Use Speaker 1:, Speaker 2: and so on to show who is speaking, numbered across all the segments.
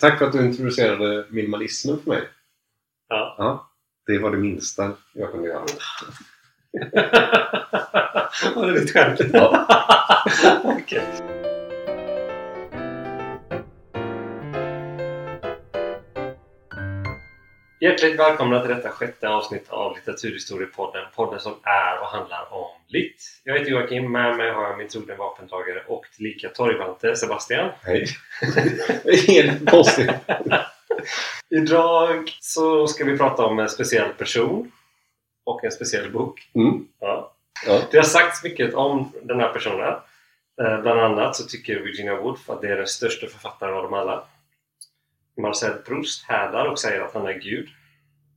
Speaker 1: tack för att du introducerade minimalismen för mig.
Speaker 2: Ja.
Speaker 1: Det var det minsta jag kunde göra.
Speaker 2: Var det ditt skämt?
Speaker 1: Ja.
Speaker 2: Okej. Hjärtligt välkomna till detta sjätte avsnitt av Litteraturhistoriepodden. Podden som är och handlar om litt. Jag heter Joakim, med mig har jag min trogna vapendragare och tillika torgvante Sebastian.
Speaker 1: Hej! Helt konstigt.
Speaker 2: Idag så ska vi prata om en speciell person och en speciell bok.
Speaker 1: Mm.
Speaker 2: Ja.
Speaker 1: Ja.
Speaker 2: Det har sagts mycket om den här personen. Eh, Bland annat så tycker Virginia Woolf att det är den största författaren av dem alla. Marcel Proust härdar och säger att han är Gud.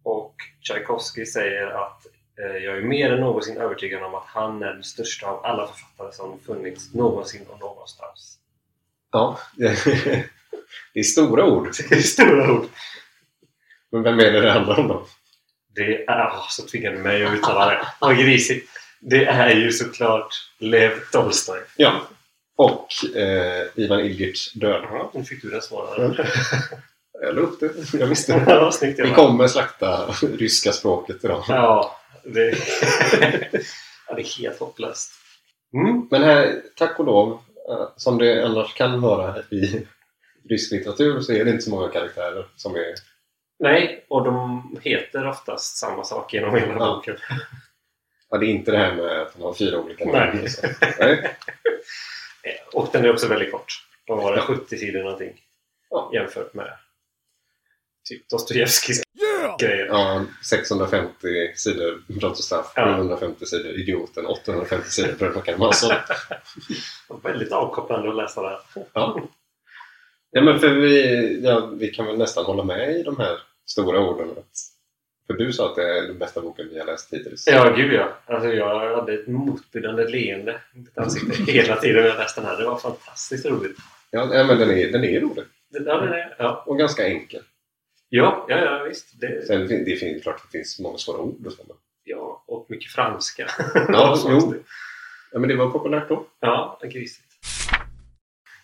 Speaker 2: Och Tchaikovsky säger att eh, jag är mer än någonsin övertygad om att han är den största av alla författare som funnits någonsin och någonstans.
Speaker 1: ja. Det är stora ord.
Speaker 2: Det är stora ord!
Speaker 1: Men vem är det det handlar om då?
Speaker 2: Det är... ah, så tvingade du mig att uttala det. Vad grisigt! Det är ju såklart Lev Tolstoj.
Speaker 1: Ja. Och eh, Ivan Ilgic död.
Speaker 2: Ja, nu fick du den
Speaker 1: Mm.
Speaker 2: svårare.
Speaker 1: Jag la upp det. Jag visste det.
Speaker 2: Ja, snyggt
Speaker 1: Vi
Speaker 2: jobbat.
Speaker 1: kommer slakta ryska språket idag.
Speaker 2: Ja, det, ja, det är helt hopplöst. Mm.
Speaker 1: Men här, tack och lov, eh, som det annars kan vara i rysk litteratur så är det inte så många karaktärer som är...
Speaker 2: Nej, och de heter oftast samma sak genom hela
Speaker 1: Ja.
Speaker 2: boken.
Speaker 1: Ja, det är inte det här med att man har fyra olika
Speaker 2: Nej.
Speaker 1: namn. och så. Nej.
Speaker 2: Eh, Och den är också väldigt kort. Vad var det? 70 sidor någonting.
Speaker 1: Ja.
Speaker 2: Jämfört med typ Dostojevskijs grejer.
Speaker 1: Ja, 650 sidor brott och straff,
Speaker 2: Ja.
Speaker 1: 750 sidor idioten, 850 sidor brödmackan Mansson.
Speaker 2: Och Väldigt avkopplande att läsa det här.
Speaker 1: Ja. ja, men för vi, ja, vi kan väl nästan hålla med i de här stora orden. Att, för du sa att det är den bästa boken vi har läst hittills.
Speaker 2: Ja, gud ja. Alltså, jag hade ett motbjudande leende i mitt ansikte hela tiden när jag läste den här. Det var fantastiskt roligt.
Speaker 1: Ja, ja, men den är, den är rolig
Speaker 2: Det- Ja, det är, ja.
Speaker 1: och ganska enkel.
Speaker 2: Ja, ja, ja, visst. Det,
Speaker 1: Sen fin- det finns klart det finns många svåra ord och så. men-
Speaker 2: ja, och mycket franska.
Speaker 1: Ja, jo. Ja, men det var populärt då.
Speaker 2: Ja, grisigt.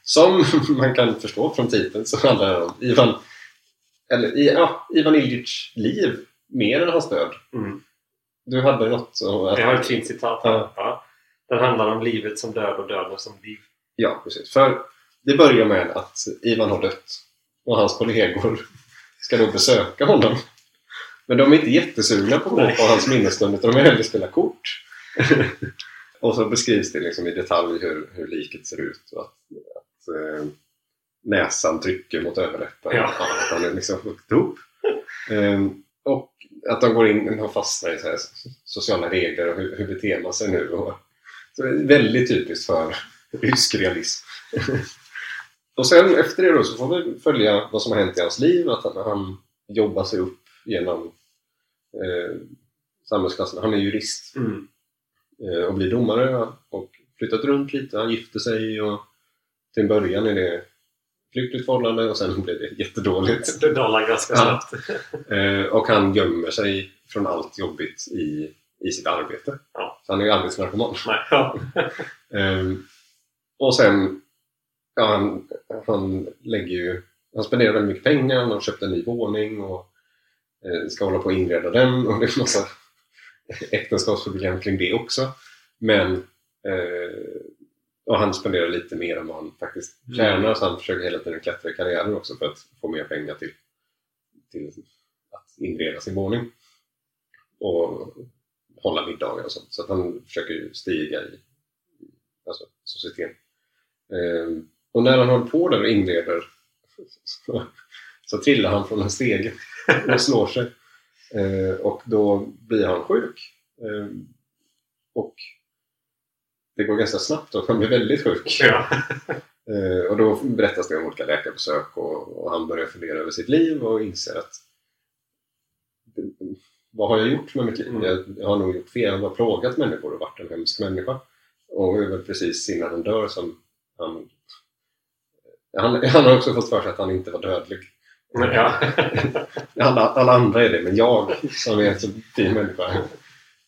Speaker 1: Som man kan förstå från titeln så handlar det om Ivan, eller, i- ja, Ivan Iljic liv mer än hans död.
Speaker 2: Mm.
Speaker 1: Du hade något så att,
Speaker 2: Jag har ett fint citat här.
Speaker 1: Ja.
Speaker 2: Ja. Den handlar om livet som död och döden som liv.
Speaker 1: Ja, precis. För det börjar med att Ivan har dött och hans kollegor ska då besöka honom. Men de är inte jättesugna på att gå
Speaker 2: Nej.
Speaker 1: på hans minnesstund utan de vill hellre spela kort. och så beskrivs det liksom i detalj hur, hur liket ser ut och att, att eh, näsan trycker mot överläppen.
Speaker 2: Ja.
Speaker 1: Att han är liksom sjukt ihop. Ehm, och att de går in och fastnar i så här sociala regler och hur, hur beter man sig nu. Och, så det är väldigt typiskt för rysk realism. och sen efter det då så får vi följa vad som har hänt i hans liv. Att han, han jobbar sig upp genom eh, samhällsklassen. Han är jurist
Speaker 2: Mm.
Speaker 1: eh, och blir domare och flyttat runt lite. Han gifte sig och till en början är det flyktigt förhållande och sen blev det jättedåligt.
Speaker 2: Det dalar ganska
Speaker 1: Ja.
Speaker 2: snabbt.
Speaker 1: Eh, och han gömmer sig från allt jobbigt i, i sitt arbete.
Speaker 2: Ja.
Speaker 1: Så han är ju arbetsnarkoman.
Speaker 2: Nej, ja.
Speaker 1: Ehm, och sen, ja, han, han lägger ju, han spenderar väldigt mycket pengar, han har köpt en ny våning och eh, ska hålla på att inreda den och det är en massa äktenskapsproblem kring det också. Men, eh, och han spenderar lite mer än vad han faktiskt
Speaker 2: Mm.
Speaker 1: tjänar så han försöker hela tiden klättra i karriären också för att få mer pengar till, till att inreda sin våning. Och hålla middagar och sånt. Så att han försöker ju stiga i alltså, societeten. Ehm, och när han håller på där och inleder så, så trillar han från en stege och slår sig. Ehm, och då blir han sjuk. Ehm, och det går ganska snabbt och han blir väldigt sjuk.
Speaker 2: Ja.
Speaker 1: Eh, och då berättas det om olika läkarbesök och, och han börjar fundera över sitt liv och inser att vad har jag gjort med mitt liv?
Speaker 2: Mm.
Speaker 1: Jag, jag har nog gjort fel. Jag har plågat människor och varit en hemsk människa. Och det är väl precis innan han dör som han... Han, han har också fått för sig att han inte var dödlig.
Speaker 2: Men, ja.
Speaker 1: Alla, alla andra är det, men jag som är en så fin människa.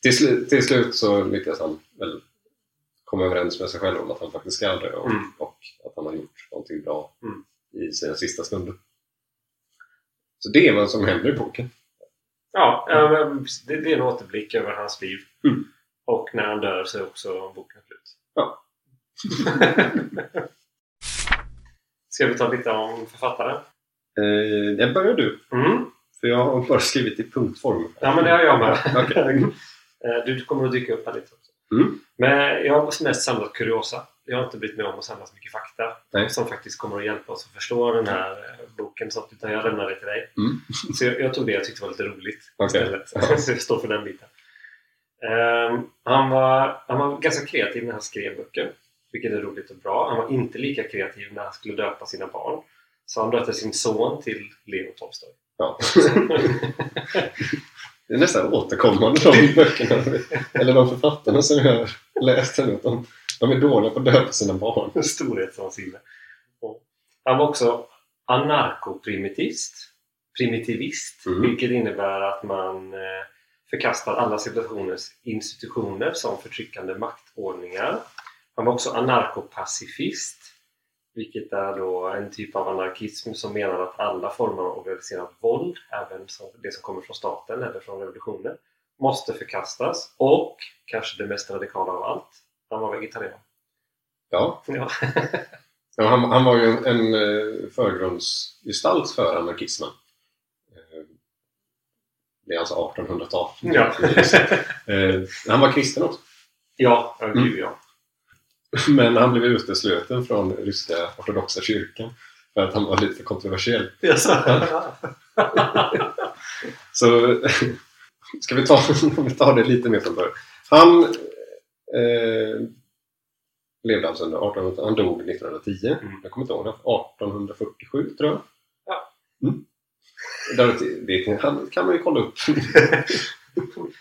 Speaker 1: Till, slu, till slut så lyckas han väl komma överens med sig själv om att han faktiskt ska dö och,
Speaker 2: Mm.
Speaker 1: och att han har gjort någonting bra
Speaker 2: Mm.
Speaker 1: i sina sista stunder. Så det är vad som händer i boken.
Speaker 2: Ja, ja, men det, det är en återblick över hans liv.
Speaker 1: Mm.
Speaker 2: Och när han dör så är också boken slut.
Speaker 1: Ja.
Speaker 2: Ska vi ta lite om författaren?
Speaker 1: Eh, jag börjar du,
Speaker 2: Mm.
Speaker 1: för jag har bara skrivit i punktform.
Speaker 2: Ja, men det har jag med.
Speaker 1: Okej.
Speaker 2: Eh, Du kommer att dyka upp här lite också.
Speaker 1: Mm.
Speaker 2: Men jag har mest samlat kuriosa. Jag har inte blivit med om att samla så mycket fakta
Speaker 1: Nej.
Speaker 2: som faktiskt kommer att hjälpa oss att förstå den här eh, boken. och Sånt, utan jag lämnar det till dig.
Speaker 1: Mm.
Speaker 2: Så jag, jag tog det jag tyckte var lite roligt
Speaker 1: Okej.
Speaker 2: istället. så jag står för den biten. Ehm, han, var, han var ganska kreativ när han skrev böcker. Vilket är roligt och bra. Han var inte lika kreativ när han skulle döpa sina barn. Så han döpte sin son till Leo Tolstoj.
Speaker 1: Ja. Det är nästan återkommande de böckerna, eller de författarna som jag har läst. här nu. De, de är dåliga på att döpa sina barn.
Speaker 2: storhetsvansinne. Och Han var också anarkoprimitivist. Primitivist,
Speaker 1: Mm.
Speaker 2: vilket innebär att man eh, förkastar alla civilisationers institutioner som förtryckande maktordningar. Han var också anarkopacifist, vilket är då en typ av anarkism som menar att alla former av organiserat våld, även som- det som kommer från staten eller från revolutioner, måste förkastas. Och, kanske det mest radikala av allt, han var vegetarian.
Speaker 1: Ja,
Speaker 2: Ja.
Speaker 1: Ja, han, han var ju en, en eh, förgrundsgestalt för anarkismen. Eh, Det är alltså 1800-tal.
Speaker 2: Ja.
Speaker 1: Eh, Han var kristen också.
Speaker 2: Ja, ja,
Speaker 1: Mm.
Speaker 2: gud ja.
Speaker 1: Men han blev utesluten från ryska ortodoxa kyrkan för att han var lite för kontroversiell. Så ska vi ta, vi tar det lite mer från början. Han eh, levde alltså under 1800 Han dog 1910.
Speaker 2: Mm.
Speaker 1: Jag kommer inte ihåg det. 1847 tror jag.
Speaker 2: Ja.
Speaker 1: Mm. Där- Det han kan man ju kolla upp.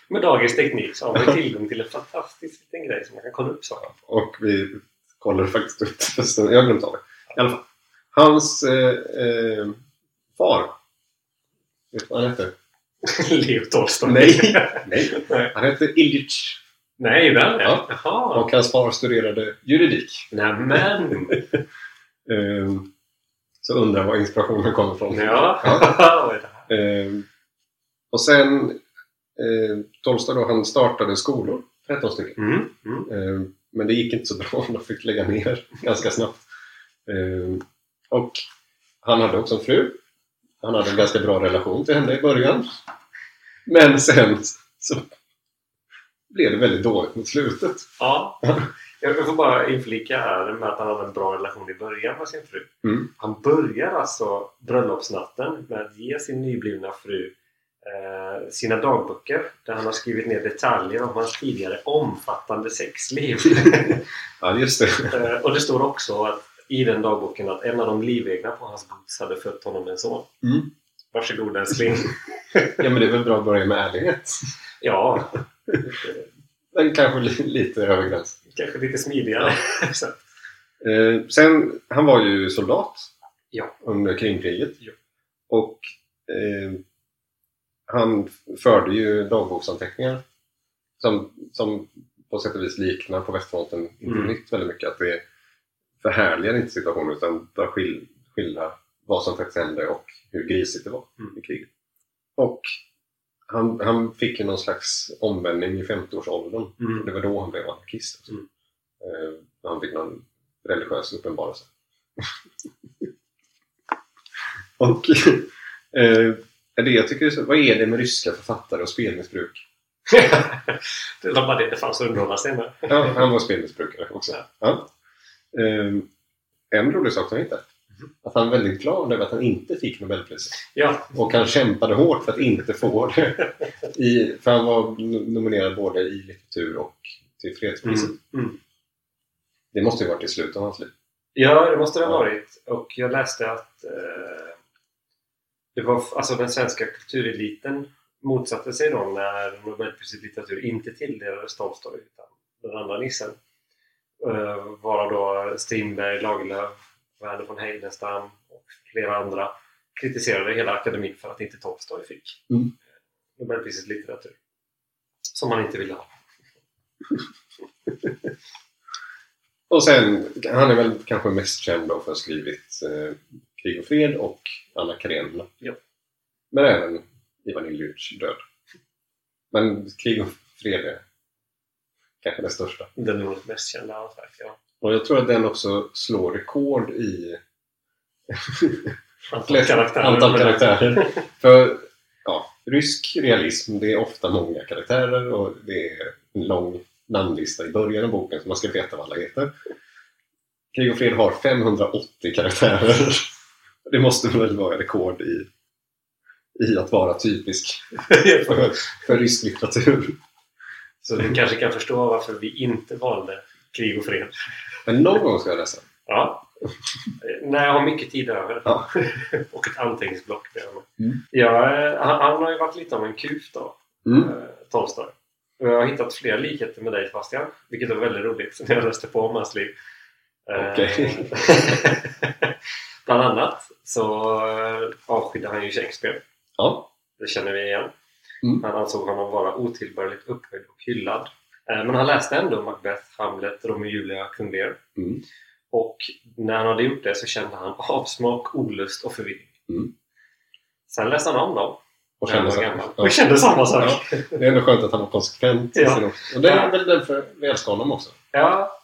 Speaker 2: Med dagens teknik så har man tillgång till en fantastisk liten grej som man kan kolla upp saker på.
Speaker 1: Och vi kollar faktiskt upp det först. Jag har glömt av det. I alla fall. Hans eh, eh, far. Vet du vad han heter?
Speaker 2: Leo Tolstoj.
Speaker 1: Nej. Nej. Han heter Ilyich.
Speaker 2: Nej, väl?
Speaker 1: Ja.
Speaker 2: Jaha.
Speaker 1: Och hans far studerade juridik.
Speaker 2: Nämen!
Speaker 1: Ehm, Så undrar var inspirationen kommer ifrån.
Speaker 2: Ja. Vad är det här?
Speaker 1: Ehm, Och sen eh, Tolstoj då, han startade skolor. 13 stycken.
Speaker 2: Mm. Mm.
Speaker 1: Eh, Men det gick inte så bra. De fick lägga ner ganska snabbt. Eh, Och han hade också en fru. Han hade en ganska bra relation till henne i början. Men sen så blev det väldigt dåligt mot slutet.
Speaker 2: Ja. Jag får bara inflika här med att han hade en bra relation i början med sin fru.
Speaker 1: Mm.
Speaker 2: Han börjar alltså bröllopsnatten med att ge sin nyblivna fru eh, sina dagböcker där han har skrivit ner detaljer om hans tidigare omfattande sexliv.
Speaker 1: Ja, just det.
Speaker 2: Eh, Och det står också att, i den dagboken att en av de livegna på hans gods hade fött honom en son.
Speaker 1: Mm.
Speaker 2: Varsågod älskling.
Speaker 1: Ja, men det är väl bra att börja med ärlighet.
Speaker 2: ja,
Speaker 1: Men kanske li- lite över gränsen.
Speaker 2: kanske lite smidigare. Så,
Speaker 1: Eh, Sen, han var ju soldat
Speaker 2: Ja.
Speaker 1: under Krimkriget.
Speaker 2: Ja.
Speaker 1: Och eh, han förde ju dagboksanteckningar som, som på sätt och vis liknar på västfronten
Speaker 2: Mm.
Speaker 1: nytt väldigt mycket. Att det förhärligar inte situationen utan bara skil, skildrar vad som faktiskt hände och hur grisigt det var
Speaker 2: Mm.
Speaker 1: i kriget. Och han, han fick ju någon slags omvändning i 50-årsåldern. Och
Speaker 2: mm.
Speaker 1: Det var då han blev anarkist. Också.
Speaker 2: Mm.
Speaker 1: Eh, när han fick någon religiös uppenbarelse. och eh, är det jag tycker, är så- vad är det med ryska författare och spelmissbruk?
Speaker 2: det var bara det det fanns att underhålla sig med.
Speaker 1: Ja, han var spelmissbrukare också.
Speaker 2: Ja.
Speaker 1: Ja. Eh, en rolig sak som jag hittade. Att han var väldigt glad över att han inte fick Nobelpriset.
Speaker 2: Ja,
Speaker 1: Och han kämpade hårt för att inte få det. I, för han var n- nominerad både i litteratur och till fredspriset.
Speaker 2: mm. Mm.
Speaker 1: Det måste ju varit i slutet av hans liv.
Speaker 2: ja, det måste det ha
Speaker 1: Ja.
Speaker 2: varit. Och jag läste att eh, det var, alltså den svenska kultureliten motsatte sig då när Nobelpriset i litteratur inte tilldelades Tolstoj utan den andra nissen. Eh, varav då Strindberg, Lagerlöf, Verner von Heidenstam och flera andra kritiserade hela akademin för att inte Tolstoj fick
Speaker 1: Mm.
Speaker 2: Nobelpriset i litteratur. Som han inte ville ha.
Speaker 1: Och sen, han är väl kanske mest känd då för att ha skrivit eh, Krig och fred och Anna Karenina.
Speaker 2: Ja.
Speaker 1: Men även Ivan Ilyich död. Men krig och fred är kanske det största.
Speaker 2: Den är nog mest kända hans verk. Ja.
Speaker 1: Och jag tror att den också slår rekord i
Speaker 2: Antal karaktärer.
Speaker 1: antal karaktärer. För ja, rysk realism, det är ofta många karaktärer och det är en lång namnlista i början av boken så man ska veta vad alla heter. Krig och fred har 580 karaktärer. Det måste väl vara rekord i, i att vara typisk för, för rysk litteratur.
Speaker 2: Så
Speaker 1: Mm.
Speaker 2: du kanske kan förstå varför vi inte valde krig och fred.
Speaker 1: Men någon gång ska jag läsa.
Speaker 2: Ja. Eh, När jag har mycket tid över.
Speaker 1: Ja.
Speaker 2: och ett anteckningsblock bredvid mig.
Speaker 1: Mm.
Speaker 2: Ja, eh, han, han har ju varit lite av en kuf då,
Speaker 1: Mm.
Speaker 2: eh, Tolstoj. Och jag har hittat flera likheter med dig Sebastian, vilket var väldigt roligt när jag läste på om hans liv. Eh,
Speaker 1: Okej.
Speaker 2: Bland annat så eh, avskydde han ju Shakespeare.
Speaker 1: Ja.
Speaker 2: Det känner vi igen.
Speaker 1: Mm.
Speaker 2: Han ansåg honom vara otillbörligt upphöjd och hyllad. Eh, Men han läste ändå Macbeth, Hamlet, Romeo och Julia, Kung Lear.
Speaker 1: Mm.
Speaker 2: Och när han hade gjort det så kände han avsmak, olust och förvirring.
Speaker 1: Mm.
Speaker 2: Sen läste han om dem
Speaker 1: Och
Speaker 2: när han
Speaker 1: kände
Speaker 2: var
Speaker 1: så.
Speaker 2: gammal.
Speaker 1: Ja.
Speaker 2: Och kände samma sak. Ja.
Speaker 1: Det är ändå skönt att han var konsekvent. i
Speaker 2: Ja.
Speaker 1: sin också. Och det är väl därför vi älskar honom också.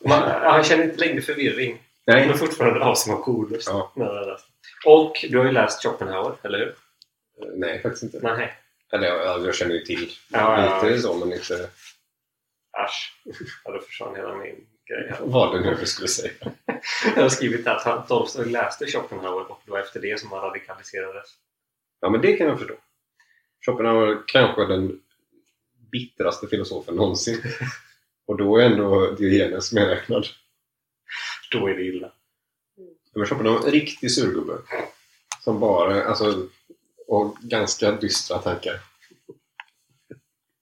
Speaker 2: man, han kände inte längre förvirring.
Speaker 1: Nej.
Speaker 2: Men fortfarande avsmak och olust.
Speaker 1: Ja.
Speaker 2: När han läste. Och du har ju läst Schopenhauer, eller hur?
Speaker 1: Nej, faktiskt inte.
Speaker 2: Nej.
Speaker 1: Eller jag, jag känner ju till
Speaker 2: Ja, ja,
Speaker 1: lite
Speaker 2: ja.
Speaker 1: så, men inte
Speaker 2: Asch. Ja, då försvann hela min grej här.
Speaker 1: vad det nu vi skulle säga.
Speaker 2: Jag har skrivit att han Tolstoj läste Schopenhauer och det var efter det som han radikaliserades.
Speaker 1: Ja, men det kan jag förstå. Schopenhauer kanske den bittraste filosofen någonsin. Och då är ändå Diogenes medräknad.
Speaker 2: Då är det illa.
Speaker 1: Men Schopenhauer är en riktig surgubbe. Som bara, alltså, och ganska dystra tankar.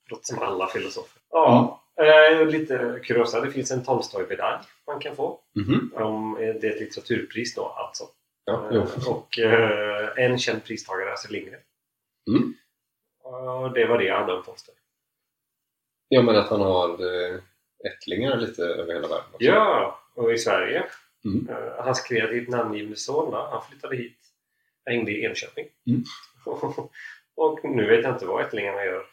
Speaker 2: Låter som alla filosofer. Ja,
Speaker 1: Mm.
Speaker 2: eh, lite kuriosa. Det finns en Tolstoj-medalj man kan få.
Speaker 1: Mhm.
Speaker 2: Om, eh, det är ett litteraturpris då alltså.
Speaker 1: Ja,
Speaker 2: Eh,
Speaker 1: jo.
Speaker 2: och eh, en känd pristagare, Astrid Lindgren.
Speaker 1: Mm.
Speaker 2: Och det var det jag hade om Tolstoj.
Speaker 1: ja, men att han har eh, ättlingar lite över hela världen. också.
Speaker 2: Ja, och i Sverige.
Speaker 1: Mm.
Speaker 2: Eh, hans kreativt namngivne son, va? han flyttade hit. Hängde i Enköping.
Speaker 1: Mm.
Speaker 2: och nu vet jag inte vad ättlingarna gör.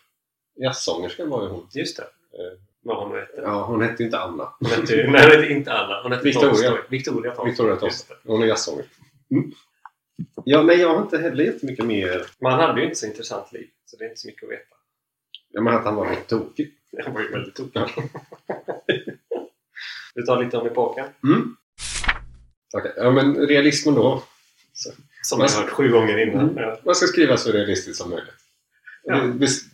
Speaker 1: Jazzsångerskan var ju hon.
Speaker 2: Just det.
Speaker 1: Eh.
Speaker 2: Vad hon heter.
Speaker 1: Ja, hon hette ju inte Anna.
Speaker 2: Hon heter, nej, hon heter inte Anna. Hon heter
Speaker 1: Victoria.
Speaker 2: Tolstoj. Victoria Tolstoj.
Speaker 1: Victoria
Speaker 2: Just det.
Speaker 1: Tolstoj. Hon är jazzsångerska. Mm. Ja, nej, jag har inte heller jättemycket mer
Speaker 2: Men han hade ju inte så intressant liv, så det är inte så mycket att veta.
Speaker 1: Ja, men att han var lite tokig.
Speaker 2: Han var ju väldigt tokig. Vi tar lite om epoken,
Speaker 1: Mm. Okej, Ja, men realismen då.
Speaker 2: som jag hört sju gånger innan.
Speaker 1: Man ska skriva så realistiskt som möjligt.
Speaker 2: Ja.
Speaker 1: Det- bes-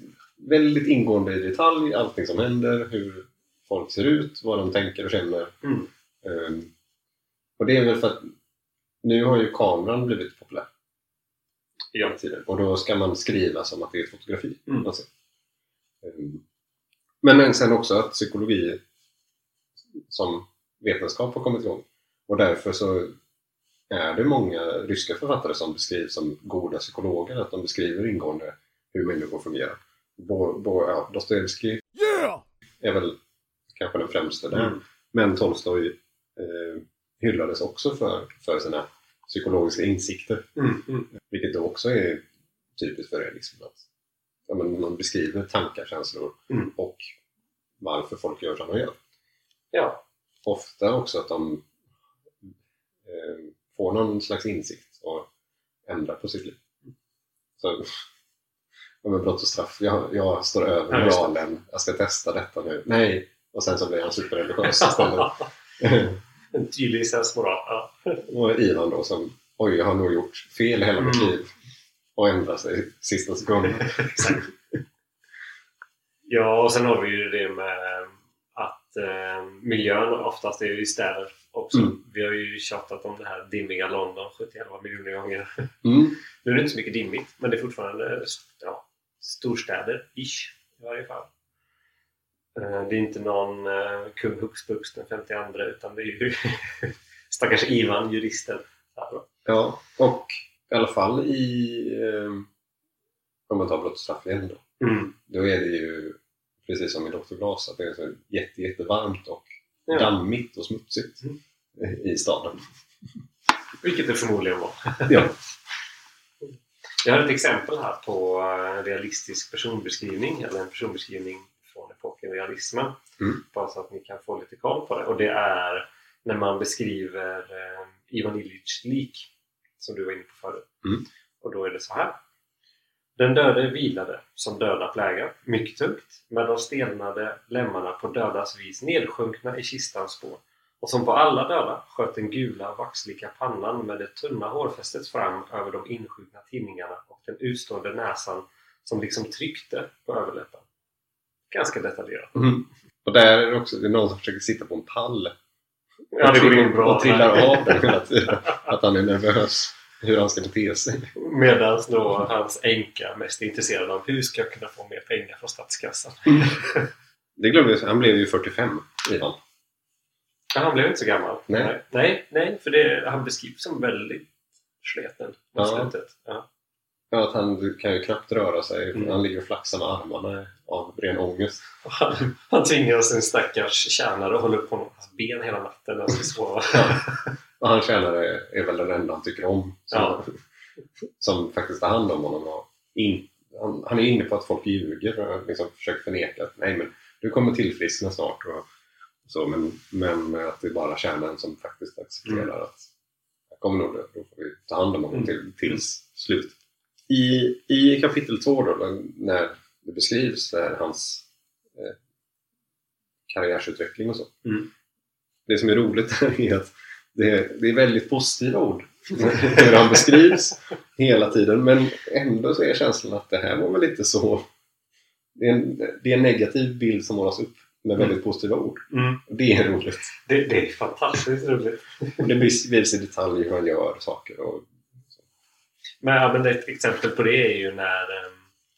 Speaker 1: Väldigt ingående i detalj, allting som händer, hur folk ser ut, vad de tänker och känner.
Speaker 2: Mm.
Speaker 1: Ehm, och det är väl för att nu har ju kameran blivit populär.
Speaker 2: Ja.
Speaker 1: I tiden. Och då ska man skriva som att det är ett fotografi.
Speaker 2: Mm.
Speaker 1: Alltså. Ehm, Men sen också att psykologi som vetenskap har kommit igång. Och därför så är det många ryska författare som beskrivs som goda psykologer, att de beskriver ingående hur människor fungerar. Bo, bo, ja, Dostojevskij är väl kanske den främste där.
Speaker 2: Mm.
Speaker 1: Men Tolstoj eh, hyllades också för, för sina psykologiska insikter,
Speaker 2: Mm. Mm.
Speaker 1: vilket då också är typiskt för realism. Att, ja, men man beskriver tankar, känslor
Speaker 2: Mm.
Speaker 1: och varför folk gör som de gör.
Speaker 2: Ja.
Speaker 1: Ofta också att de eh, får någon slags insikt och ändrar på sitt liv. Så, ja, men brott och straff. Jag, jag står över
Speaker 2: Ja, just det.
Speaker 1: moralen. Jag ska testa detta nu. Nej! Och sen så blir han superreligiös istället.
Speaker 2: en tydlig licensmoral. Ja.
Speaker 1: Och Ivan då som, oj, jag har nog gjort fel hela mitt
Speaker 2: Mm.
Speaker 1: liv. Och ändrar sig i sista sekunden.
Speaker 2: Exakt. ja, och sen har vi ju det med eh, att eh, miljön oftast är ju i städer också.
Speaker 1: Mm.
Speaker 2: Vi har ju tjatat om det här dimmiga London 71 miljoner gånger.
Speaker 1: Mm.
Speaker 2: Nu är det inte så mycket dimmigt, men det är fortfarande ja, storstäder, ish, i varje fall. Eh, Det är inte någon eh, kung Huxbux den 52 utan det är ju stackars Ivan, juristen.
Speaker 1: Ja, och i alla fall i, eh, om man tar brott och straff igen då,
Speaker 2: Mm.
Speaker 1: då är det ju precis som i Dr. Glas att det är så jätte, jättevarmt och
Speaker 2: Ja.
Speaker 1: dammigt och smutsigt
Speaker 2: Mm.
Speaker 1: i staden.
Speaker 2: Vilket det förmodligen var.
Speaker 1: Ja.
Speaker 2: Jag har ett exempel här på eh, realistisk personbeskrivning, eller en personbeskrivning från epoken realismen.
Speaker 1: Mm.
Speaker 2: Bara så att ni kan få lite koll på det. Och det är när man beskriver eh, Ivan Illich lik, som du var inne på förut.
Speaker 1: Mm.
Speaker 2: Och då är det så här. Den döde vilade, som döda pläga, mycket tungt, med de stelnade lemmarna på dödas vis nedsjunkna i kistans spår. Och som på alla döda sköt den gula vaxlika pannan med det tunna hårfästet fram över de insjukna tinningarna och den utstående näsan som liksom tryckte på överläppen. Ganska detaljerat.
Speaker 1: Mhm. Och där är det också det är någon som försöker sitta på en pall
Speaker 2: Ja, det går in bra.
Speaker 1: och trillar av den hela tiden. Att han är nervös hur han ska bete sig.
Speaker 2: Medan då hans änka mest är intresserad av hur ska jag kunna få mer pengar från statskassan?
Speaker 1: Det glömde jag, han blev ju 45, Ivan.
Speaker 2: Ja, han blev inte så gammal.
Speaker 1: Nej.
Speaker 2: nej, nej, för det, han beskrivs som väldigt sleten mot
Speaker 1: Ja.
Speaker 2: slutet. Ja.
Speaker 1: Ja, att han kan ju knappt röra sig.
Speaker 2: Mm.
Speaker 1: Han ligger och flaxar med armarna av ren ångest.
Speaker 2: Och Han, han tvingar sin stackars tjänare att hålla upp honom på hans ben hela natten när han ska sova.
Speaker 1: Och han tjänare är väl den enda han tycker om. Som,
Speaker 2: Ja.
Speaker 1: som faktiskt tar hand om honom. Och in, han, han är inne på att folk ljuger och liksom försöker förneka att nej, men du kommer tillfriskna snart. Och, så, men, men att det är bara kärnan som faktiskt accepterar att jag kommer nog dö. Då får vi ta hand om honom
Speaker 2: Mm.
Speaker 1: till, tills slut. I, I kapitel två då, men när det beskrivs eh, hans eh, karriärsutveckling och så.
Speaker 2: Mm.
Speaker 1: Det som är roligt är att det, det är väldigt positiva ord hur han beskrivs hela tiden. Men ändå så är känslan att det här var väl inte så... Det är en, det är en negativ bild som målas upp med väldigt positiva ord.
Speaker 2: Mm.
Speaker 1: Och Det är roligt.
Speaker 2: Det, det är fantastiskt roligt.
Speaker 1: Och det beskrivs i detalj hur han gör saker. Och,
Speaker 2: Men, ja, men ett exempel på det är ju när eh,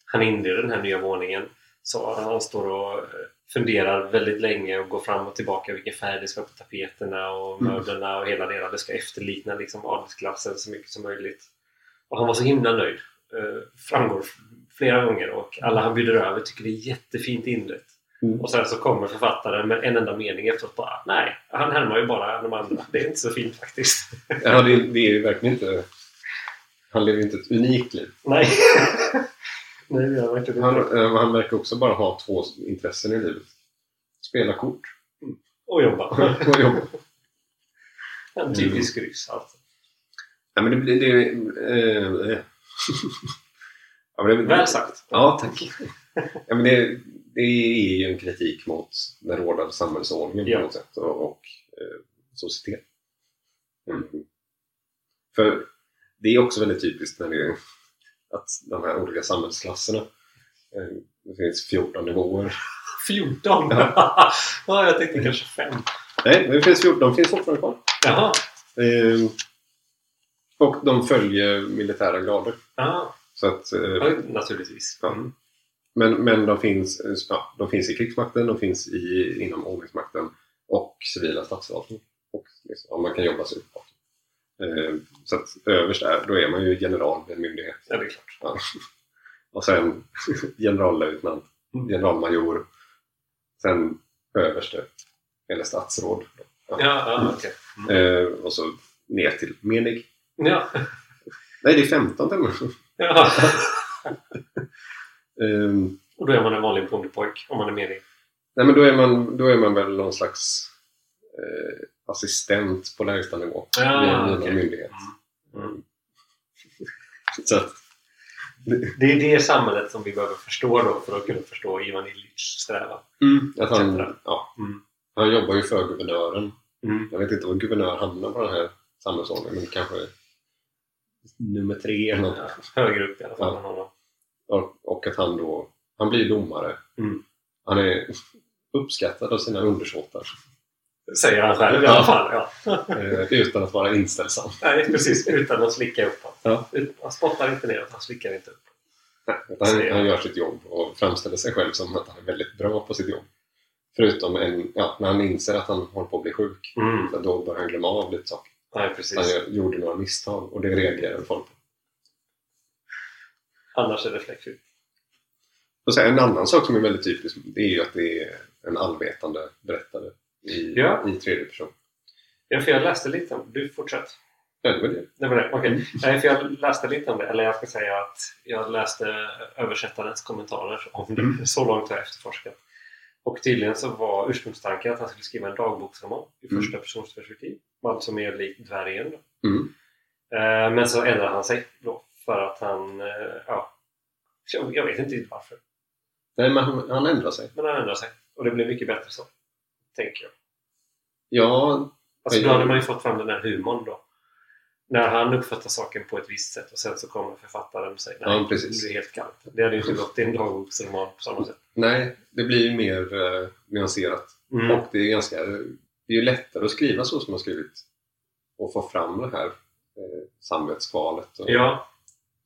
Speaker 2: han inleder den här nya våningen. Så han står och eh, funderar väldigt länge och går fram och tillbaka vilken färg det ska vara på tapeterna och
Speaker 1: Mm.
Speaker 2: möblerna och hela det hela. Det ska efterlikna liksom adelsklassen så mycket som möjligt. Och han var så himla nöjd. Eh, Framgår f- flera gånger och alla han bjuder över tycker det är jättefint inrett.
Speaker 1: Mm.
Speaker 2: Och sen så kommer författaren med en enda mening efteråt bara Nej, han härmar ju bara de andra. Det är inte så fint faktiskt.
Speaker 1: ja, det, det är ju verkligen inte... Han lever ju inte ett unikt liv.
Speaker 2: Nej. Nej, det har inte det.
Speaker 1: Han, eh, han verkar också bara ha två intressen i livet. Spela kort
Speaker 2: Och jobba.
Speaker 1: och jobba.
Speaker 2: En typisk ryss alltså.
Speaker 1: Ja, men det... det, det eh, eh. ja, men det,
Speaker 2: Väl sagt.
Speaker 1: Mm. Ja, tack. Ja, men det, det är ju en kritik mot den rådande samhällsordningen
Speaker 2: Ja.
Speaker 1: på något sätt och, och eh, societet. Mm. För det är också väldigt typiskt när det, att de här olika samhällsklasserna eh, det finns 14 nivåer.
Speaker 2: 14! ja, jag tänkte kanske 5.
Speaker 1: Nej, men det finns 14, de finns fortfarande kvar.
Speaker 2: Jaha.
Speaker 1: Eh, och de följer militära grader.
Speaker 2: Ja,
Speaker 1: Så att, eh,
Speaker 2: ja, naturligtvis.
Speaker 1: Ja.
Speaker 2: Mm.
Speaker 1: Men, men de, finns, eh, ja, de finns i krigsmakten, de finns i, inom ordningsmakten och civila statsförvaltningen. Och liksom, ja, man kan jobba sig uppåt. Eh, så att överst där, då är man ju general vid en myndighet.
Speaker 2: Ja, det är klart.
Speaker 1: Ja. Och sen generallöjtnant,
Speaker 2: Mm.
Speaker 1: generalmajor. Sen överste, eller statsråd.
Speaker 2: Ja, ja okej.
Speaker 1: Eh, och så ner till menig.
Speaker 2: Ja.
Speaker 1: Nej, det är 15 till och med.
Speaker 2: ja.
Speaker 1: Eh,
Speaker 2: Och då är man en vanlig bondepojk om man är menig.
Speaker 1: Nej, men då är man, då är man väl någon slags eh, assistent på lägsta nivå
Speaker 2: Ah,
Speaker 1: vid en
Speaker 2: okej.
Speaker 1: myndighet.
Speaker 2: Mm. Mm.
Speaker 1: Så att,
Speaker 2: Det är det samhället som vi behöver förstå då för att kunna förstå Ivan Illich strävan.
Speaker 1: att
Speaker 2: Etcetera.
Speaker 1: han, ja,
Speaker 2: Mm.
Speaker 1: han jobbar ju för guvernören.
Speaker 2: Mm.
Speaker 1: Jag vet inte vad guvernör hamnar på den här samhällsordningen, men kanske nummer tre eller något.
Speaker 2: Ja, högre upp i alla fall
Speaker 1: Ja.
Speaker 2: än honom.
Speaker 1: Och, och att han då, han blir domare.
Speaker 2: Mm.
Speaker 1: Han är uppskattad av sina undersåtar
Speaker 2: Säger han själv i alla fall. Ja.
Speaker 1: eh, utan att vara inställsam.
Speaker 2: Nej, precis. Utan att slicka uppåt.
Speaker 1: Ja.
Speaker 2: Ut- Han spottar inte neråt, han slickar inte upp.
Speaker 1: Han, han gör sitt jobb och framställer sig själv som att han är väldigt bra på sitt jobb. Förutom en, ja, när han inser att han håller på att bli sjuk.
Speaker 2: Mm.
Speaker 1: Så Då börjar han glömma av lite saker.
Speaker 2: Nej, precis.
Speaker 1: Han gör- gjorde några misstag och det reagerar folk på.
Speaker 2: Annars är det fläckfritt.
Speaker 1: Och sen, en annan sak som är väldigt typisk det är ju att det är en allvetande berättare i,
Speaker 2: Ja.
Speaker 1: i tredje person.
Speaker 2: Ja, för jag läste lite om... Du, fortsätt.
Speaker 1: Ja, det Mm. var det.
Speaker 2: Det var det, okej. Nej, för jag läste lite om det, eller jag ska säga att jag läste översättarens kommentarer om det.
Speaker 1: Mm.
Speaker 2: Så långt har jag efterforskat. Och tydligen så var ursprungstanken att han skulle skriva en dagboksroman i
Speaker 1: Mm.
Speaker 2: första persons perspektiv. Alltså mer lik dvärgen. Då.
Speaker 1: Mm.
Speaker 2: Eh, Men så ändrade han sig då för att han, eh, ja, jag- jag vet inte riktigt varför.
Speaker 1: Nej, men han, han ändrar sig.
Speaker 2: Men han ändrade sig och det blev mycket bättre så. Tänker jag.
Speaker 1: Ja,
Speaker 2: Alltså
Speaker 1: Men-
Speaker 2: då hade man ju fått fram den där humorn då. När han uppfattar saken på ett visst sätt och sen så kommer författaren och säger nej,
Speaker 1: Ja, precis.
Speaker 2: det är helt kallt. Det hade ju inte gått i en dagboksroman på samma sätt.
Speaker 1: nej, det blir ju mer eh, nyanserat.
Speaker 2: Mm.
Speaker 1: Och det är, ganska, det är ju lättare att skriva så som man skrivit och få fram det här eh, samvetskvalet och
Speaker 2: Ja,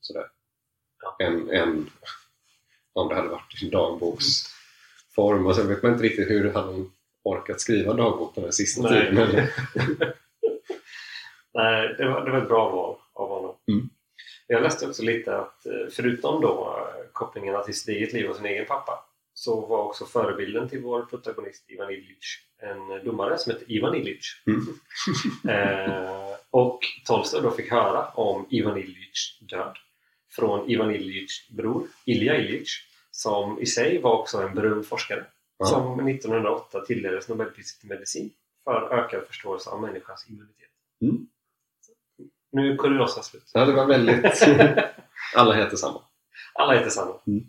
Speaker 1: sådär.
Speaker 2: Ja.
Speaker 1: Än, än om det hade varit i dagboksform. Och sen vet man inte riktigt hur hade hon orkat skriva dagbok den här sista
Speaker 2: Nej.
Speaker 1: tiden. Men,
Speaker 2: nej, det, var, det var ett bra val av honom.
Speaker 1: Mm.
Speaker 2: Jag läste också lite att eh, förutom då eh, kopplingarna till sitt eget liv och sin egen pappa så var också förebilden till vår protagonist Ivan Illich en domare som hette Ivan Illich.
Speaker 1: mm.
Speaker 2: Eh, och Tolstoj då fick höra om Ivan Iljits död från Ivan Iljits bror Ilja Iljits som i sig var också en berömd forskare
Speaker 1: Ja.
Speaker 2: som 1908 tilldelades Nobelpriset i medicin för ökad förståelse av människans immunitet.
Speaker 1: Mm.
Speaker 2: Nu är kuriosa slut.
Speaker 1: ja, det var väldigt... Alla heter samma.
Speaker 2: Alla heter samma.
Speaker 1: Mm.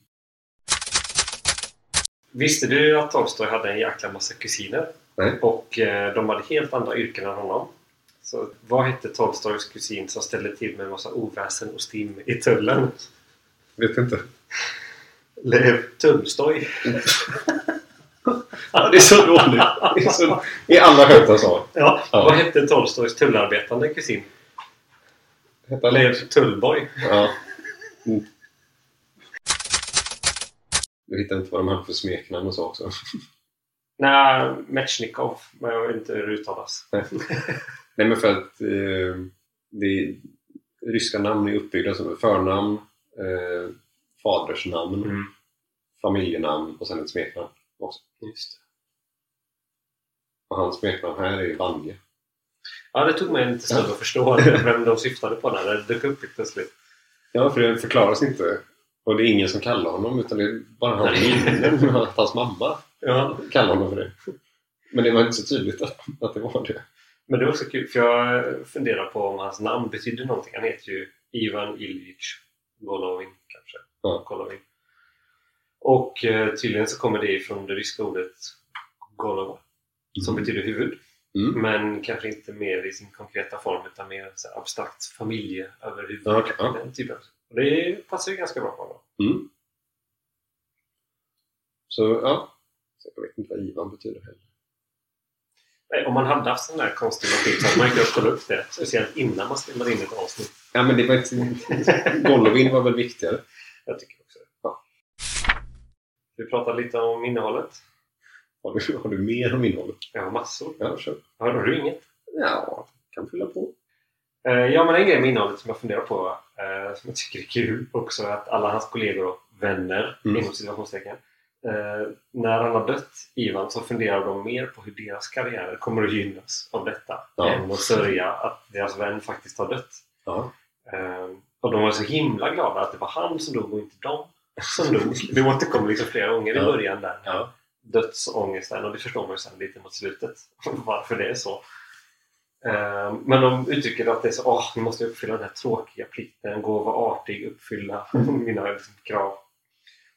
Speaker 2: Visste du att Tolstoj hade en jäkla massa kusiner?
Speaker 1: Nej.
Speaker 2: Och eh, de hade helt andra yrken än honom. Så vad hette Tolstojs kusin som ställde till med en massa oväsen och stim i tullen?
Speaker 1: Vet inte.
Speaker 2: Lev Tolstoj.
Speaker 1: Ja, det är så dåligt. Det är så... I alla skämt han sa.
Speaker 2: Ja,
Speaker 1: Ja.
Speaker 2: Vad hette Tolstojs tullarbetande kusin?
Speaker 1: Hette han-
Speaker 2: Lev Tullboy.
Speaker 1: Ja. Mm. Jag hittar inte vad de hade för smeknamn och så också.
Speaker 2: Nej, Metjnikov. Men jag vet inte hur det uttalas.
Speaker 1: Nej, men för att eh, det, ryska namn är uppbyggda som förnamn, eh, fadersnamn,
Speaker 2: Mm.
Speaker 1: familjenamn och sen ett smeknamn.
Speaker 2: Just det.
Speaker 1: Och hans smeknamn här är ju Vanje.
Speaker 2: Ja, det tog mig en liten stund att förstå vem de syftade på när det dök upp helt plötsligt.
Speaker 1: Ja, för det förklaras inte. Och det är ingen som kallar honom utan det är bara han i minnen. att Hans mamma
Speaker 2: Ja,
Speaker 1: kallar honom för det. Men det var inte så tydligt att, att det var det.
Speaker 2: Men det var också kul, för jag funderar på om hans namn betyder någonting. Han heter ju Ivan Iljitj Golovin, kanske.
Speaker 1: Ja.
Speaker 2: Golovin. Och eh, tydligen så kommer det ifrån det ryska ordet Golova, som betyder huvud.
Speaker 1: Mm.
Speaker 2: Men kanske inte mer i sin konkreta form, utan mer så här abstrakt familjeöverhuvud.
Speaker 1: Ja, okej, ja.
Speaker 2: Den typen. Och det passar ju ganska bra på honom.
Speaker 1: Mm. Så ja, Så jag vet inte vad Ivan betyder heller.
Speaker 2: Nej, om man hade haft sån där konstig motiv så hade man ju kunnat kolla upp det. Speciellt innan man spelar in ett avsnitt.
Speaker 1: Ja, men det var inte... Golovin var väl viktigare.
Speaker 2: Jag tycker också det.
Speaker 1: Ja.
Speaker 2: Vi pratade lite om innehållet.
Speaker 1: Har du, har du mer om innehållet?
Speaker 2: Jag har massor.
Speaker 1: Ja, kör.
Speaker 2: Har du inget?
Speaker 1: Ja, kan fylla på.
Speaker 2: Eh, Ja, men en grej med innehållet som jag funderar på, eh, som jag tycker är kul också, att alla hans kollegor och vänner,
Speaker 1: Mm.
Speaker 2: inom situationstecken, eh, när han har dött, Ivan, så funderar de mer på hur deras karriärer kommer att gynnas av detta
Speaker 1: Ja.
Speaker 2: än att sörja att deras vän faktiskt har dött.
Speaker 1: Ja.
Speaker 2: Eh, och de var så himla glada att det var han som dog och inte de som dog. Det återkom liksom flera gånger i
Speaker 1: Ja.
Speaker 2: början där.
Speaker 1: Ja.
Speaker 2: dödsångesten och det förstår man ju sen lite mot slutet varför det är så. Eh, Men de uttrycker att det är så åh, nu måste jag uppfylla den här tråkiga plikten, gå och vara artig, uppfylla mina liksom, krav.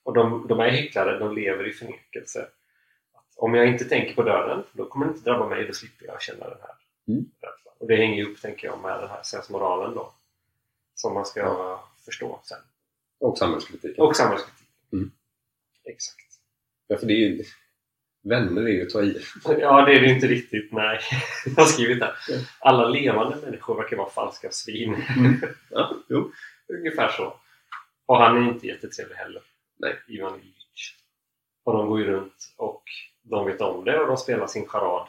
Speaker 2: Och de, de är hycklare, de lever i förnekelse. Att om jag inte tänker på döden, då kommer det inte drabba mig, då slipper jag känna den här
Speaker 1: Mm.
Speaker 2: rädslan. Och det hänger ju upp, tänker jag, med den här sensmoralen då. Som man ska förstå sen.
Speaker 1: Och samhällskritiken.
Speaker 2: Och samhällskritik.
Speaker 1: Mm.
Speaker 2: Exakt.
Speaker 1: Ja, för det är ju... Vänner är ju att ta i.
Speaker 2: Ja, det är det inte riktigt. Nej, jag har skrivit det.
Speaker 1: Ja.
Speaker 2: Alla levande människor verkar vara falska svin.
Speaker 1: Ja, jo.
Speaker 2: Ungefär så. Och han är inte jättetrevlig heller.
Speaker 1: Nej.
Speaker 2: Ivan Ilyich. Och de går ju runt och de vet om det och de spelar sin charad.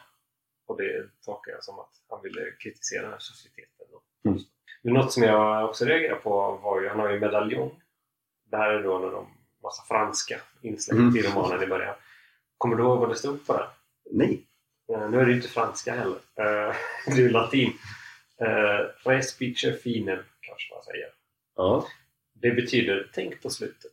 Speaker 2: Och det tolkar jag som att han ville kritisera den här societeten. då.
Speaker 1: Mm.
Speaker 2: Men något som jag också reagerade på var ju, han har ju medaljong. Det här är då när de massa franska inslag
Speaker 1: Mm.
Speaker 2: i romanen i början. Kommer du ihåg vad det stod på den?
Speaker 1: Nej.
Speaker 2: Eh, Nu är det ju inte franska heller. Eh, Det är ju latin. Eh, Res biche finem, kanske man säger.
Speaker 1: Ja,
Speaker 2: Det betyder tänk på slutet.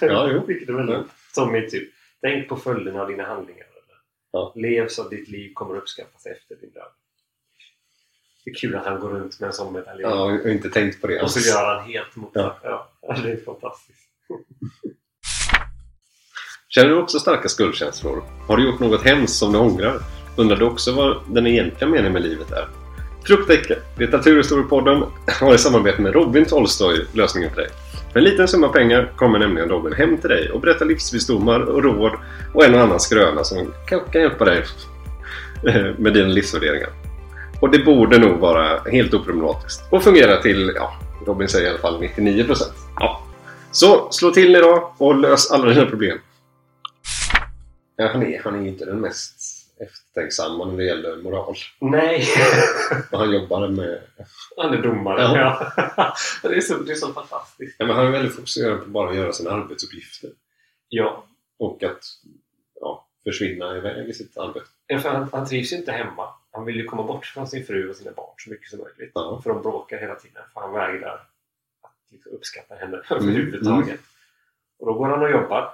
Speaker 1: ja jo.
Speaker 2: Vilket är väldigt, som är typ tänk på följderna av dina handlingar. Eller?
Speaker 1: Ja.
Speaker 2: Lev så att ditt liv kommer uppskattas efter din död. Det är kul att han går runt med en sån medalj.
Speaker 1: Ja, jag har inte tänkt på det
Speaker 2: Och så
Speaker 1: alls.
Speaker 2: gör han helt mot
Speaker 1: Ja.
Speaker 2: Ja. det är fantastiskt.
Speaker 1: Känner du också starka skuldkänslor? Har du gjort något hemskt som du ångrar? Undrar du också vad den egentliga meningen med livet är? Fruktdäcken, Litteraturhistoriepodden, har i samarbete med Robin Tolstoj lösningen för dig. För en liten summa pengar kommer nämligen Robin hem till dig och berättar livsvisdomar och råd och en och annan skröna som kanske kan hjälpa dig eh, med dina livsvärderingar. Och det borde nog vara helt oproblematiskt och fungera till, ja, Robin säger i alla fall 99%. Ja. Så slå till idag och lös alla dina problem. Ja, han, är, han är ju inte den mest eftertänksamma när det gäller moral.
Speaker 2: Nej!
Speaker 1: Och han jobbar med...
Speaker 2: Han är domare.
Speaker 1: Ja.
Speaker 2: Ja. det, är så, det är så fantastiskt.
Speaker 1: Ja, men han är väldigt fokuserad på bara att göra sina arbetsuppgifter.
Speaker 2: Ja,
Speaker 1: Och att ja, försvinna iväg i sitt arbete.
Speaker 2: för han, han trivs ju inte hemma. Han vill ju komma bort från sin fru och sina barn så mycket som möjligt.
Speaker 1: Ja.
Speaker 2: För de bråkar hela tiden. För han vägrar att liksom uppskatta henne
Speaker 1: Mm,
Speaker 2: överhuvudtaget. Och då går han och jobbar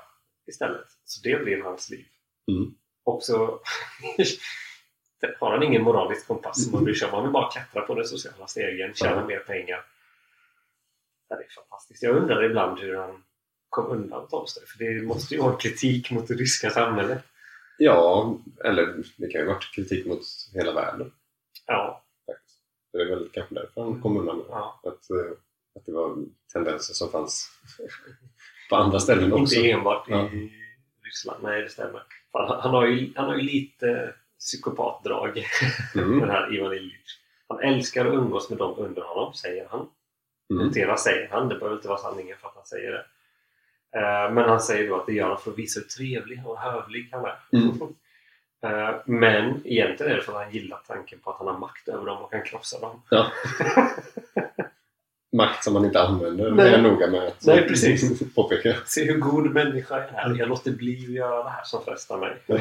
Speaker 2: istället. Så det blir hans liv.
Speaker 1: Mm.
Speaker 2: Och så har han ingen moralisk kompass som man bryr sig om. Han vill bara klättra på den sociala stegen, tjäna
Speaker 1: Ja.
Speaker 2: mer pengar. Ja, det är fantastiskt. Jag undrar ibland hur han kom undan Tolstoj. För det måste ju vara kritik mot det ryska samhället.
Speaker 1: ja, eller det kan ju ha varit kritik mot hela världen.
Speaker 2: Ja,
Speaker 1: Faktiskt. Det är väl kanske därför han kom undan med det.
Speaker 2: ja.
Speaker 1: att, eh, att det var tendenser som fanns på andra ställen också.
Speaker 2: Inte enbart i
Speaker 1: Ja.
Speaker 2: Ryssland. Nej, det stämmer. Fan, han, han, har ju, han har ju lite psykopatdrag, den
Speaker 1: Mm.
Speaker 2: här Ivan Ilyich. Han älskar att umgås med dem under honom, säger han.
Speaker 1: Mm.
Speaker 2: Notera säger han, det behöver inte vara sanningen för att han säger det. Eh, Men han säger då att det gör han för att visa hur trevlig och hövlig han är.
Speaker 1: Mm.
Speaker 2: Eh, Men egentligen är det för att han gillar tanken på att han har makt över dem och kan krossa dem.
Speaker 1: Makt som man inte använder,
Speaker 2: Nej.
Speaker 1: det är jag noga med att
Speaker 2: Nej, precis.
Speaker 1: påpeka.
Speaker 2: Se hur god människa jag är. Jag låter bli att göra det här som frestar mig.
Speaker 1: Ja.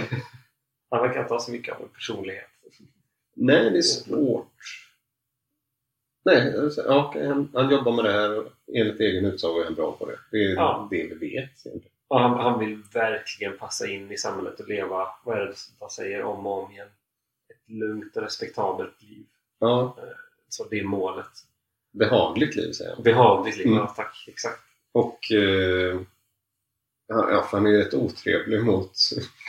Speaker 2: Han verkar inte ha så mycket av en personlighet.
Speaker 1: Nej, det är svårt. Nej, alltså, ja, okej, han, han jobbar med det här och enligt egen utsago är han bra på det. Det är
Speaker 2: Ja.
Speaker 1: det vi vet. egentligen.
Speaker 2: Och han, han vill verkligen passa in i samhället och leva, vad är det som han säger om och om igen? Ett lugnt och respektabelt liv.
Speaker 1: Ja,
Speaker 2: Så det är målet.
Speaker 1: behagligt liv säger han.
Speaker 2: Behagligt liv,
Speaker 1: Mm.
Speaker 2: ja tack. Exakt.
Speaker 1: Och eh, ja, ja, för han är ju rätt otrevlig mot,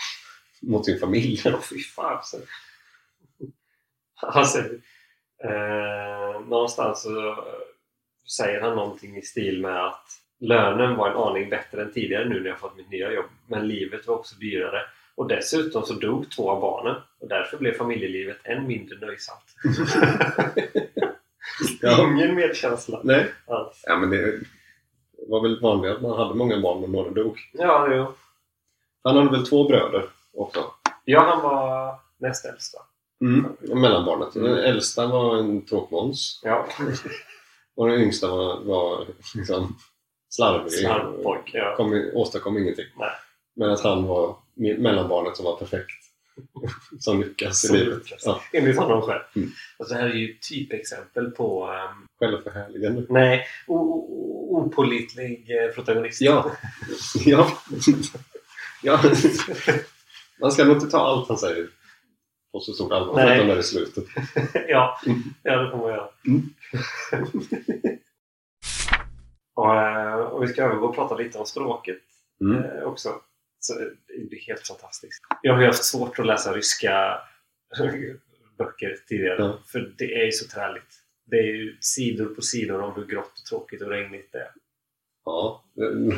Speaker 1: mot sin familj.
Speaker 2: Ja, fy fan. Så. Han säger, eh, någonstans så säger han någonting i stil med att lönen var en aning bättre än tidigare nu när jag fått mitt nya jobb. Men livet var också dyrare. Och dessutom så dog två av barnen och därför blev familjelivet än mindre nöjsamt.
Speaker 1: Ja.
Speaker 2: Ingen medkänsla
Speaker 1: Nej.
Speaker 2: alls.
Speaker 1: Ja, men det var väl vanligt att man hade många barn och några dog.
Speaker 2: Ja, jo.
Speaker 1: Han hade väl två bröder också.
Speaker 2: ja, han var näst äldsta.
Speaker 1: Mellanbarnet. Den
Speaker 2: Mm.
Speaker 1: äldsta var en tråkmåns
Speaker 2: Ja,
Speaker 1: och den yngsta var, var liksom slarvig.
Speaker 2: slarvpojk. Ja.
Speaker 1: kom, i- åstadkom ingenting.
Speaker 2: Nej.
Speaker 1: Men att han var me- mellanbarnet som var perfekt. som lyckas
Speaker 2: Som
Speaker 1: i livet.
Speaker 2: lyckas.
Speaker 1: Ja,
Speaker 2: Enligt honom själv.
Speaker 1: Mm.
Speaker 2: Alltså, det här är ju typexempel på ehm,
Speaker 1: självförhärligande.
Speaker 2: Nej, o- o- opålitlig eh, protagonist.
Speaker 1: Ja. ja. ja. Man ska nog inte ta allt han säger på så stort allvar.
Speaker 2: Nej.
Speaker 1: Förutom när det är slutet.
Speaker 2: ja.
Speaker 1: Mm.
Speaker 2: ja, det får man göra.
Speaker 1: Mm.
Speaker 2: och, eh, och vi ska övergå och prata lite om språket
Speaker 1: Mm.
Speaker 2: eh, också. Så det är helt fantastiskt. Jag har ju haft svårt att läsa ryska böcker tidigare.
Speaker 1: Ja.
Speaker 2: För det är ju så träligt. Det är ju sidor på sidor om hur grått och tråkigt och regnigt det är.
Speaker 1: Ja.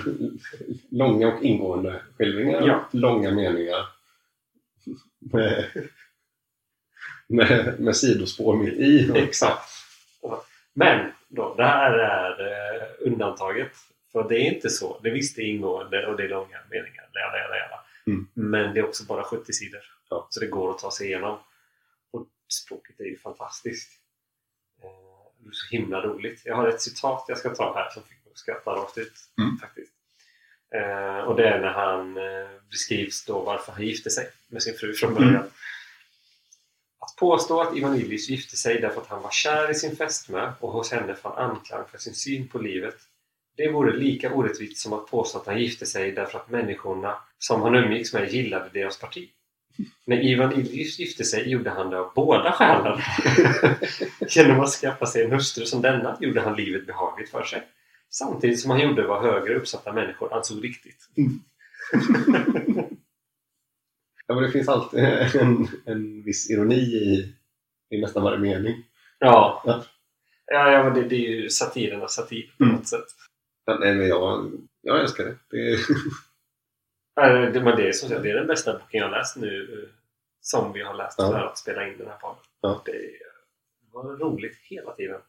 Speaker 1: Långa och ingående skildringar.
Speaker 2: Ja.
Speaker 1: Långa meningar. Med, med, med sidospår mitt i.
Speaker 2: Exakt. Men då, det här är eh, undantaget. För det är inte så. Det är visst det är ingående och det är långa meningar. Lära, lära, lära.
Speaker 1: Mm.
Speaker 2: Men det är också bara 70 sidor.
Speaker 1: Ja.
Speaker 2: Så det går att ta sig igenom. Och språket är ju fantastiskt. Eh, Det är så himla roligt. Jag har ett citat jag ska ta här som fick mig att skratta rakt ut.
Speaker 1: Mm.
Speaker 2: Faktiskt. Eh, Och det är när
Speaker 1: Mm.
Speaker 2: han eh, beskrivs då varför han gifte sig med sin fru från början. Att Påstå att Ivan Illich gifte sig därför att han var kär i sin fästmö och hos henne fann anklang för sin syn på livet. Det vore lika orättvist som att påstå att han gifte sig därför att människorna som han umgicks med gillade deras parti. När Ivan Illich gifte sig gjorde han det av båda skälen. Genom att skaffa sig en hustru som denna gjorde han livet behagligt för sig. Samtidigt som han gjorde vad högre uppsatta människor ansåg riktigt.
Speaker 1: Ja, men det finns alltid en, en viss ironi i, i nästan varje mening.
Speaker 2: Ja,
Speaker 1: Ja.
Speaker 2: ja, ja men det, det är ju satirernas satir på
Speaker 1: Mm.
Speaker 2: något sätt.
Speaker 1: Men, nej, men jag, jag älskar det. det är,
Speaker 2: Ja, det, men det, är som
Speaker 1: Mm.
Speaker 2: sagt, det är den bästa boken jag har läst nu eh, som vi har läst
Speaker 1: Ja.
Speaker 2: för att spela in den här podden.
Speaker 1: Ja.
Speaker 2: Det är- var roligt hela tiden.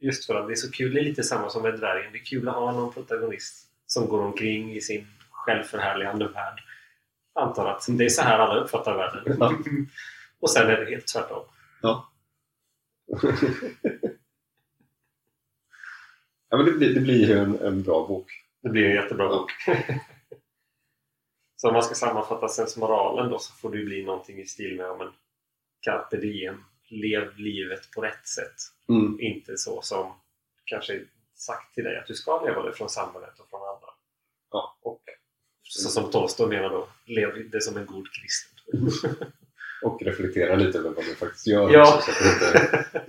Speaker 2: Just för att det är så kul. Det är lite samma som med dvärgen. Det är kul att ha någon protagonist som går omkring i sin självförhärligande värld. Antar att det är så här alla uppfattar världen.
Speaker 1: Ja.
Speaker 2: Och sen är det helt tvärtom.
Speaker 1: ja, men det, blir, det blir ju en, en bra bok.
Speaker 2: Det blir en jättebra bok. så om man ska sammanfatta sensmoralen då så får det ju bli någonting i stil med om en carpe diem. Lev livet på rätt sätt.
Speaker 1: Mm.
Speaker 2: Inte så som kanske är sagt till dig att du ska leva det från samhället och från andra.
Speaker 1: Ja.
Speaker 2: Och så som Tolstoj menar då, lev det som en god kristen.
Speaker 1: Och reflektera lite över vad du faktiskt gör.
Speaker 2: Ja.
Speaker 1: också, så att det inte,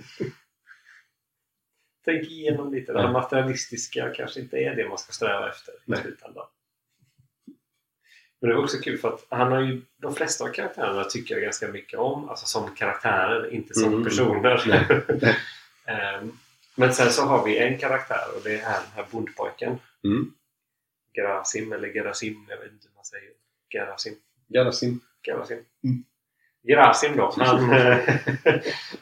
Speaker 2: Tänk igenom lite. Det här
Speaker 1: Ja.
Speaker 2: materialistiska kanske inte är det man ska sträva efter i
Speaker 1: Nej.
Speaker 2: slutändan. Men det var också kul för att han har ju, de flesta av karaktärerna tycker jag ganska mycket om. Alltså som karaktärer, inte som
Speaker 1: Mm.
Speaker 2: personer.
Speaker 1: Nej.
Speaker 2: Ehm, Men sen så har vi en karaktär och det är här, den här bondpojken.
Speaker 1: Mm.
Speaker 2: Gerasim eller Gerasim, jag vet inte hur man säger. Gerasim.
Speaker 1: Garasim.
Speaker 2: Gerasim.
Speaker 1: Mm.
Speaker 2: Gerasim då, han, eh,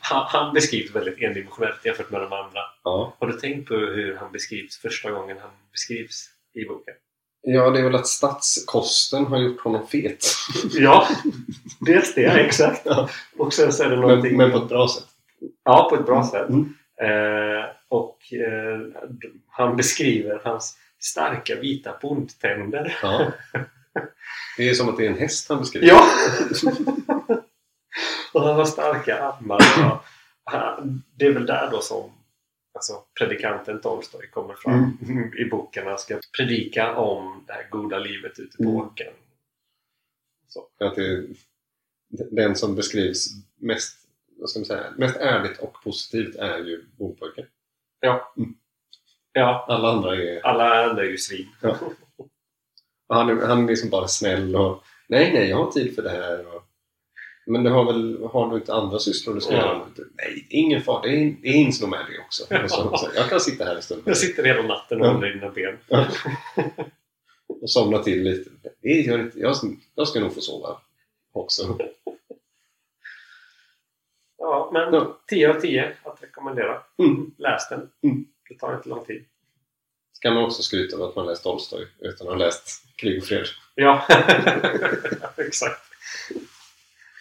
Speaker 2: han, han beskrivs väldigt endimensionellt jämfört med de andra.
Speaker 1: Ja.
Speaker 2: Har du tänkt på hur han beskrivs första gången han beskrivs i boken?
Speaker 1: ja, det är väl att statskosten har gjort honom fet.
Speaker 2: Ja, dels det, exakt. Och sen så är det
Speaker 1: Men,
Speaker 2: någonting...
Speaker 1: men på ett bra sätt.
Speaker 2: Ja, på ett bra sätt.
Speaker 1: Mm.
Speaker 2: Eh, och eh, han beskriver hans starka vita bondtänder.
Speaker 1: Ja. Det är som att det är en häst han beskriver.
Speaker 2: Ja! och han har starka armar. Ja. Han- Det är väl där då som alltså, predikanten Tolstoj kommer fram
Speaker 1: Mm.
Speaker 2: i boken. Han ska predika om det här goda livet ute på
Speaker 1: Mm.
Speaker 2: åkern.
Speaker 1: Att det är den som beskrivs mest, vad ska man säga, mest ärligt och positivt är ju bondpojken.
Speaker 2: Ja,
Speaker 1: Alla andra är...
Speaker 2: Alla andra är ju svin.
Speaker 1: och Han är, han är liksom bara snäll och nej, nej, jag har tid för det här. Och, men du har väl har du inte andra sysslor du ska
Speaker 2: Ja.
Speaker 1: göra? Nej, det är ingen fara. Det är, det är ins nog med det också. Och så, så, jag kan sitta här en stund
Speaker 2: Jag sitter hela natten och håller i dina ben.
Speaker 1: och somna till lite. Det gör inte, jag, jag ska nog få sova också.
Speaker 2: Ja, men
Speaker 1: Ja.
Speaker 2: 10 av 10 att rekommendera.
Speaker 1: Mm.
Speaker 2: Läs den.
Speaker 1: Mm.
Speaker 2: Det tar inte lång tid.
Speaker 1: Ska man också skryta om att man läst Tolstoj utan att ha läst Krig och fred?
Speaker 2: Ja, exakt.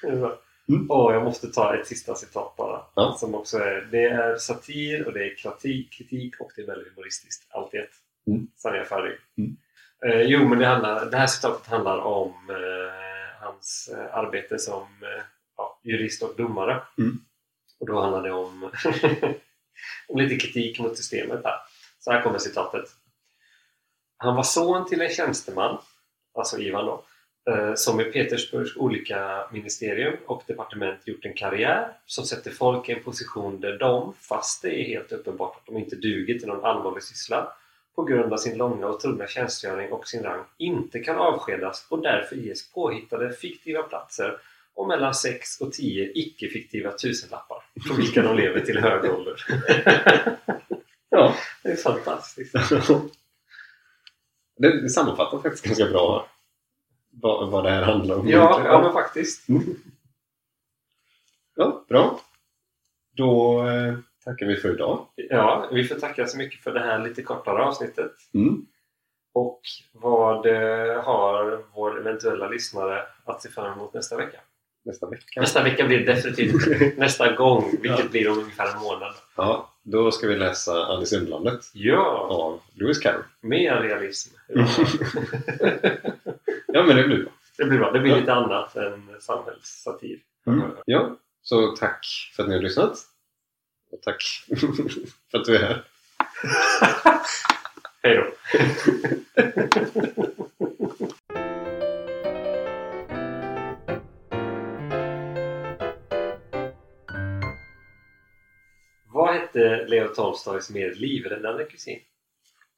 Speaker 2: Det är bra.
Speaker 1: Mm.
Speaker 2: Åh, jag måste ta ett sista citat bara.
Speaker 1: Ja.
Speaker 2: Som också är, det är satir och det är kritik, kritik och det är väldigt humoristiskt. Allt i ett.
Speaker 1: Mm.
Speaker 2: Sen är jag färdig.
Speaker 1: Mm.
Speaker 2: Eh, jo, men det, handlar, det här citatet handlar om eh, hans eh, arbete som eh, ja, jurist och domare.
Speaker 1: Mm.
Speaker 2: Och då handlar det om, om lite kritik mot systemet. Här. Så här kommer citatet. Han var son till en tjänsteman, alltså Ivan då, eh, som i Petersburgs olika ministerium och departement gjort en karriär som sätter folk i en position där de, fast det är helt uppenbart att de inte duger till någon allvarlig syssla, på grund av sin långa och tunga tjänstgöring och sin rang inte kan avskedas och därför ges påhittade fiktiva platser och mellan 6 och 10 icke-fiktiva tusenlappar från vilka de lever till hög ålder.
Speaker 1: Ja.
Speaker 2: Det är fantastiskt!
Speaker 1: det, det sammanfattar faktiskt ganska bra vad, vad det här handlar om.
Speaker 2: Ja, ja men faktiskt.
Speaker 1: Ja, bra. Då eh, tackar vi för idag.
Speaker 2: Ja, vi får tacka så mycket för det här lite kortare avsnittet.
Speaker 1: Mm.
Speaker 2: Och vad eh, har vår eventuella lyssnare att se fram emot nästa vecka?
Speaker 1: Nästa vecka.
Speaker 2: Nästa vecka blir det definitivt nästa gång, vilket blir om ungefär en månad.
Speaker 1: Ja, då ska vi läsa Alice i Underlandet
Speaker 2: Ja,
Speaker 1: av Lewis Carroll.
Speaker 2: mer realism.
Speaker 1: Mm. Ja, men det blir bra.
Speaker 2: Det blir bra. Det blir
Speaker 1: Ja. Mm.
Speaker 2: Mm. lite annat än samhällssatir.
Speaker 1: Ja, Så tack för att ni har lyssnat. Och tack för att du är här.
Speaker 2: Hej då! Vad hette Leo Tolstojs mer livräddande kusin?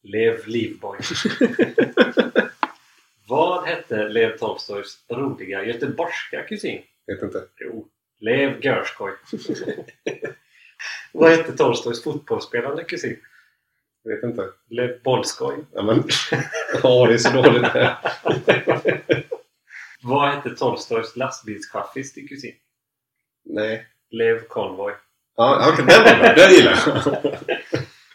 Speaker 2: Lev Livboj. Vad hette Lev Tolstojs roliga göteborgska kusin?
Speaker 1: Vet inte.
Speaker 2: Jo, Lev Görskoj. Vad hette Tolstojs fotbollsspelande kusin?
Speaker 1: Vet inte.
Speaker 2: Lev Bollskoj.
Speaker 1: Ja, men... ja det är så dåligt det här.
Speaker 2: Vad hette Tolstojs lastbilschaffis till kusin?
Speaker 1: Nej.
Speaker 2: Lev Konvoj.
Speaker 1: Ja, okej. den var bra. Den gillar jag.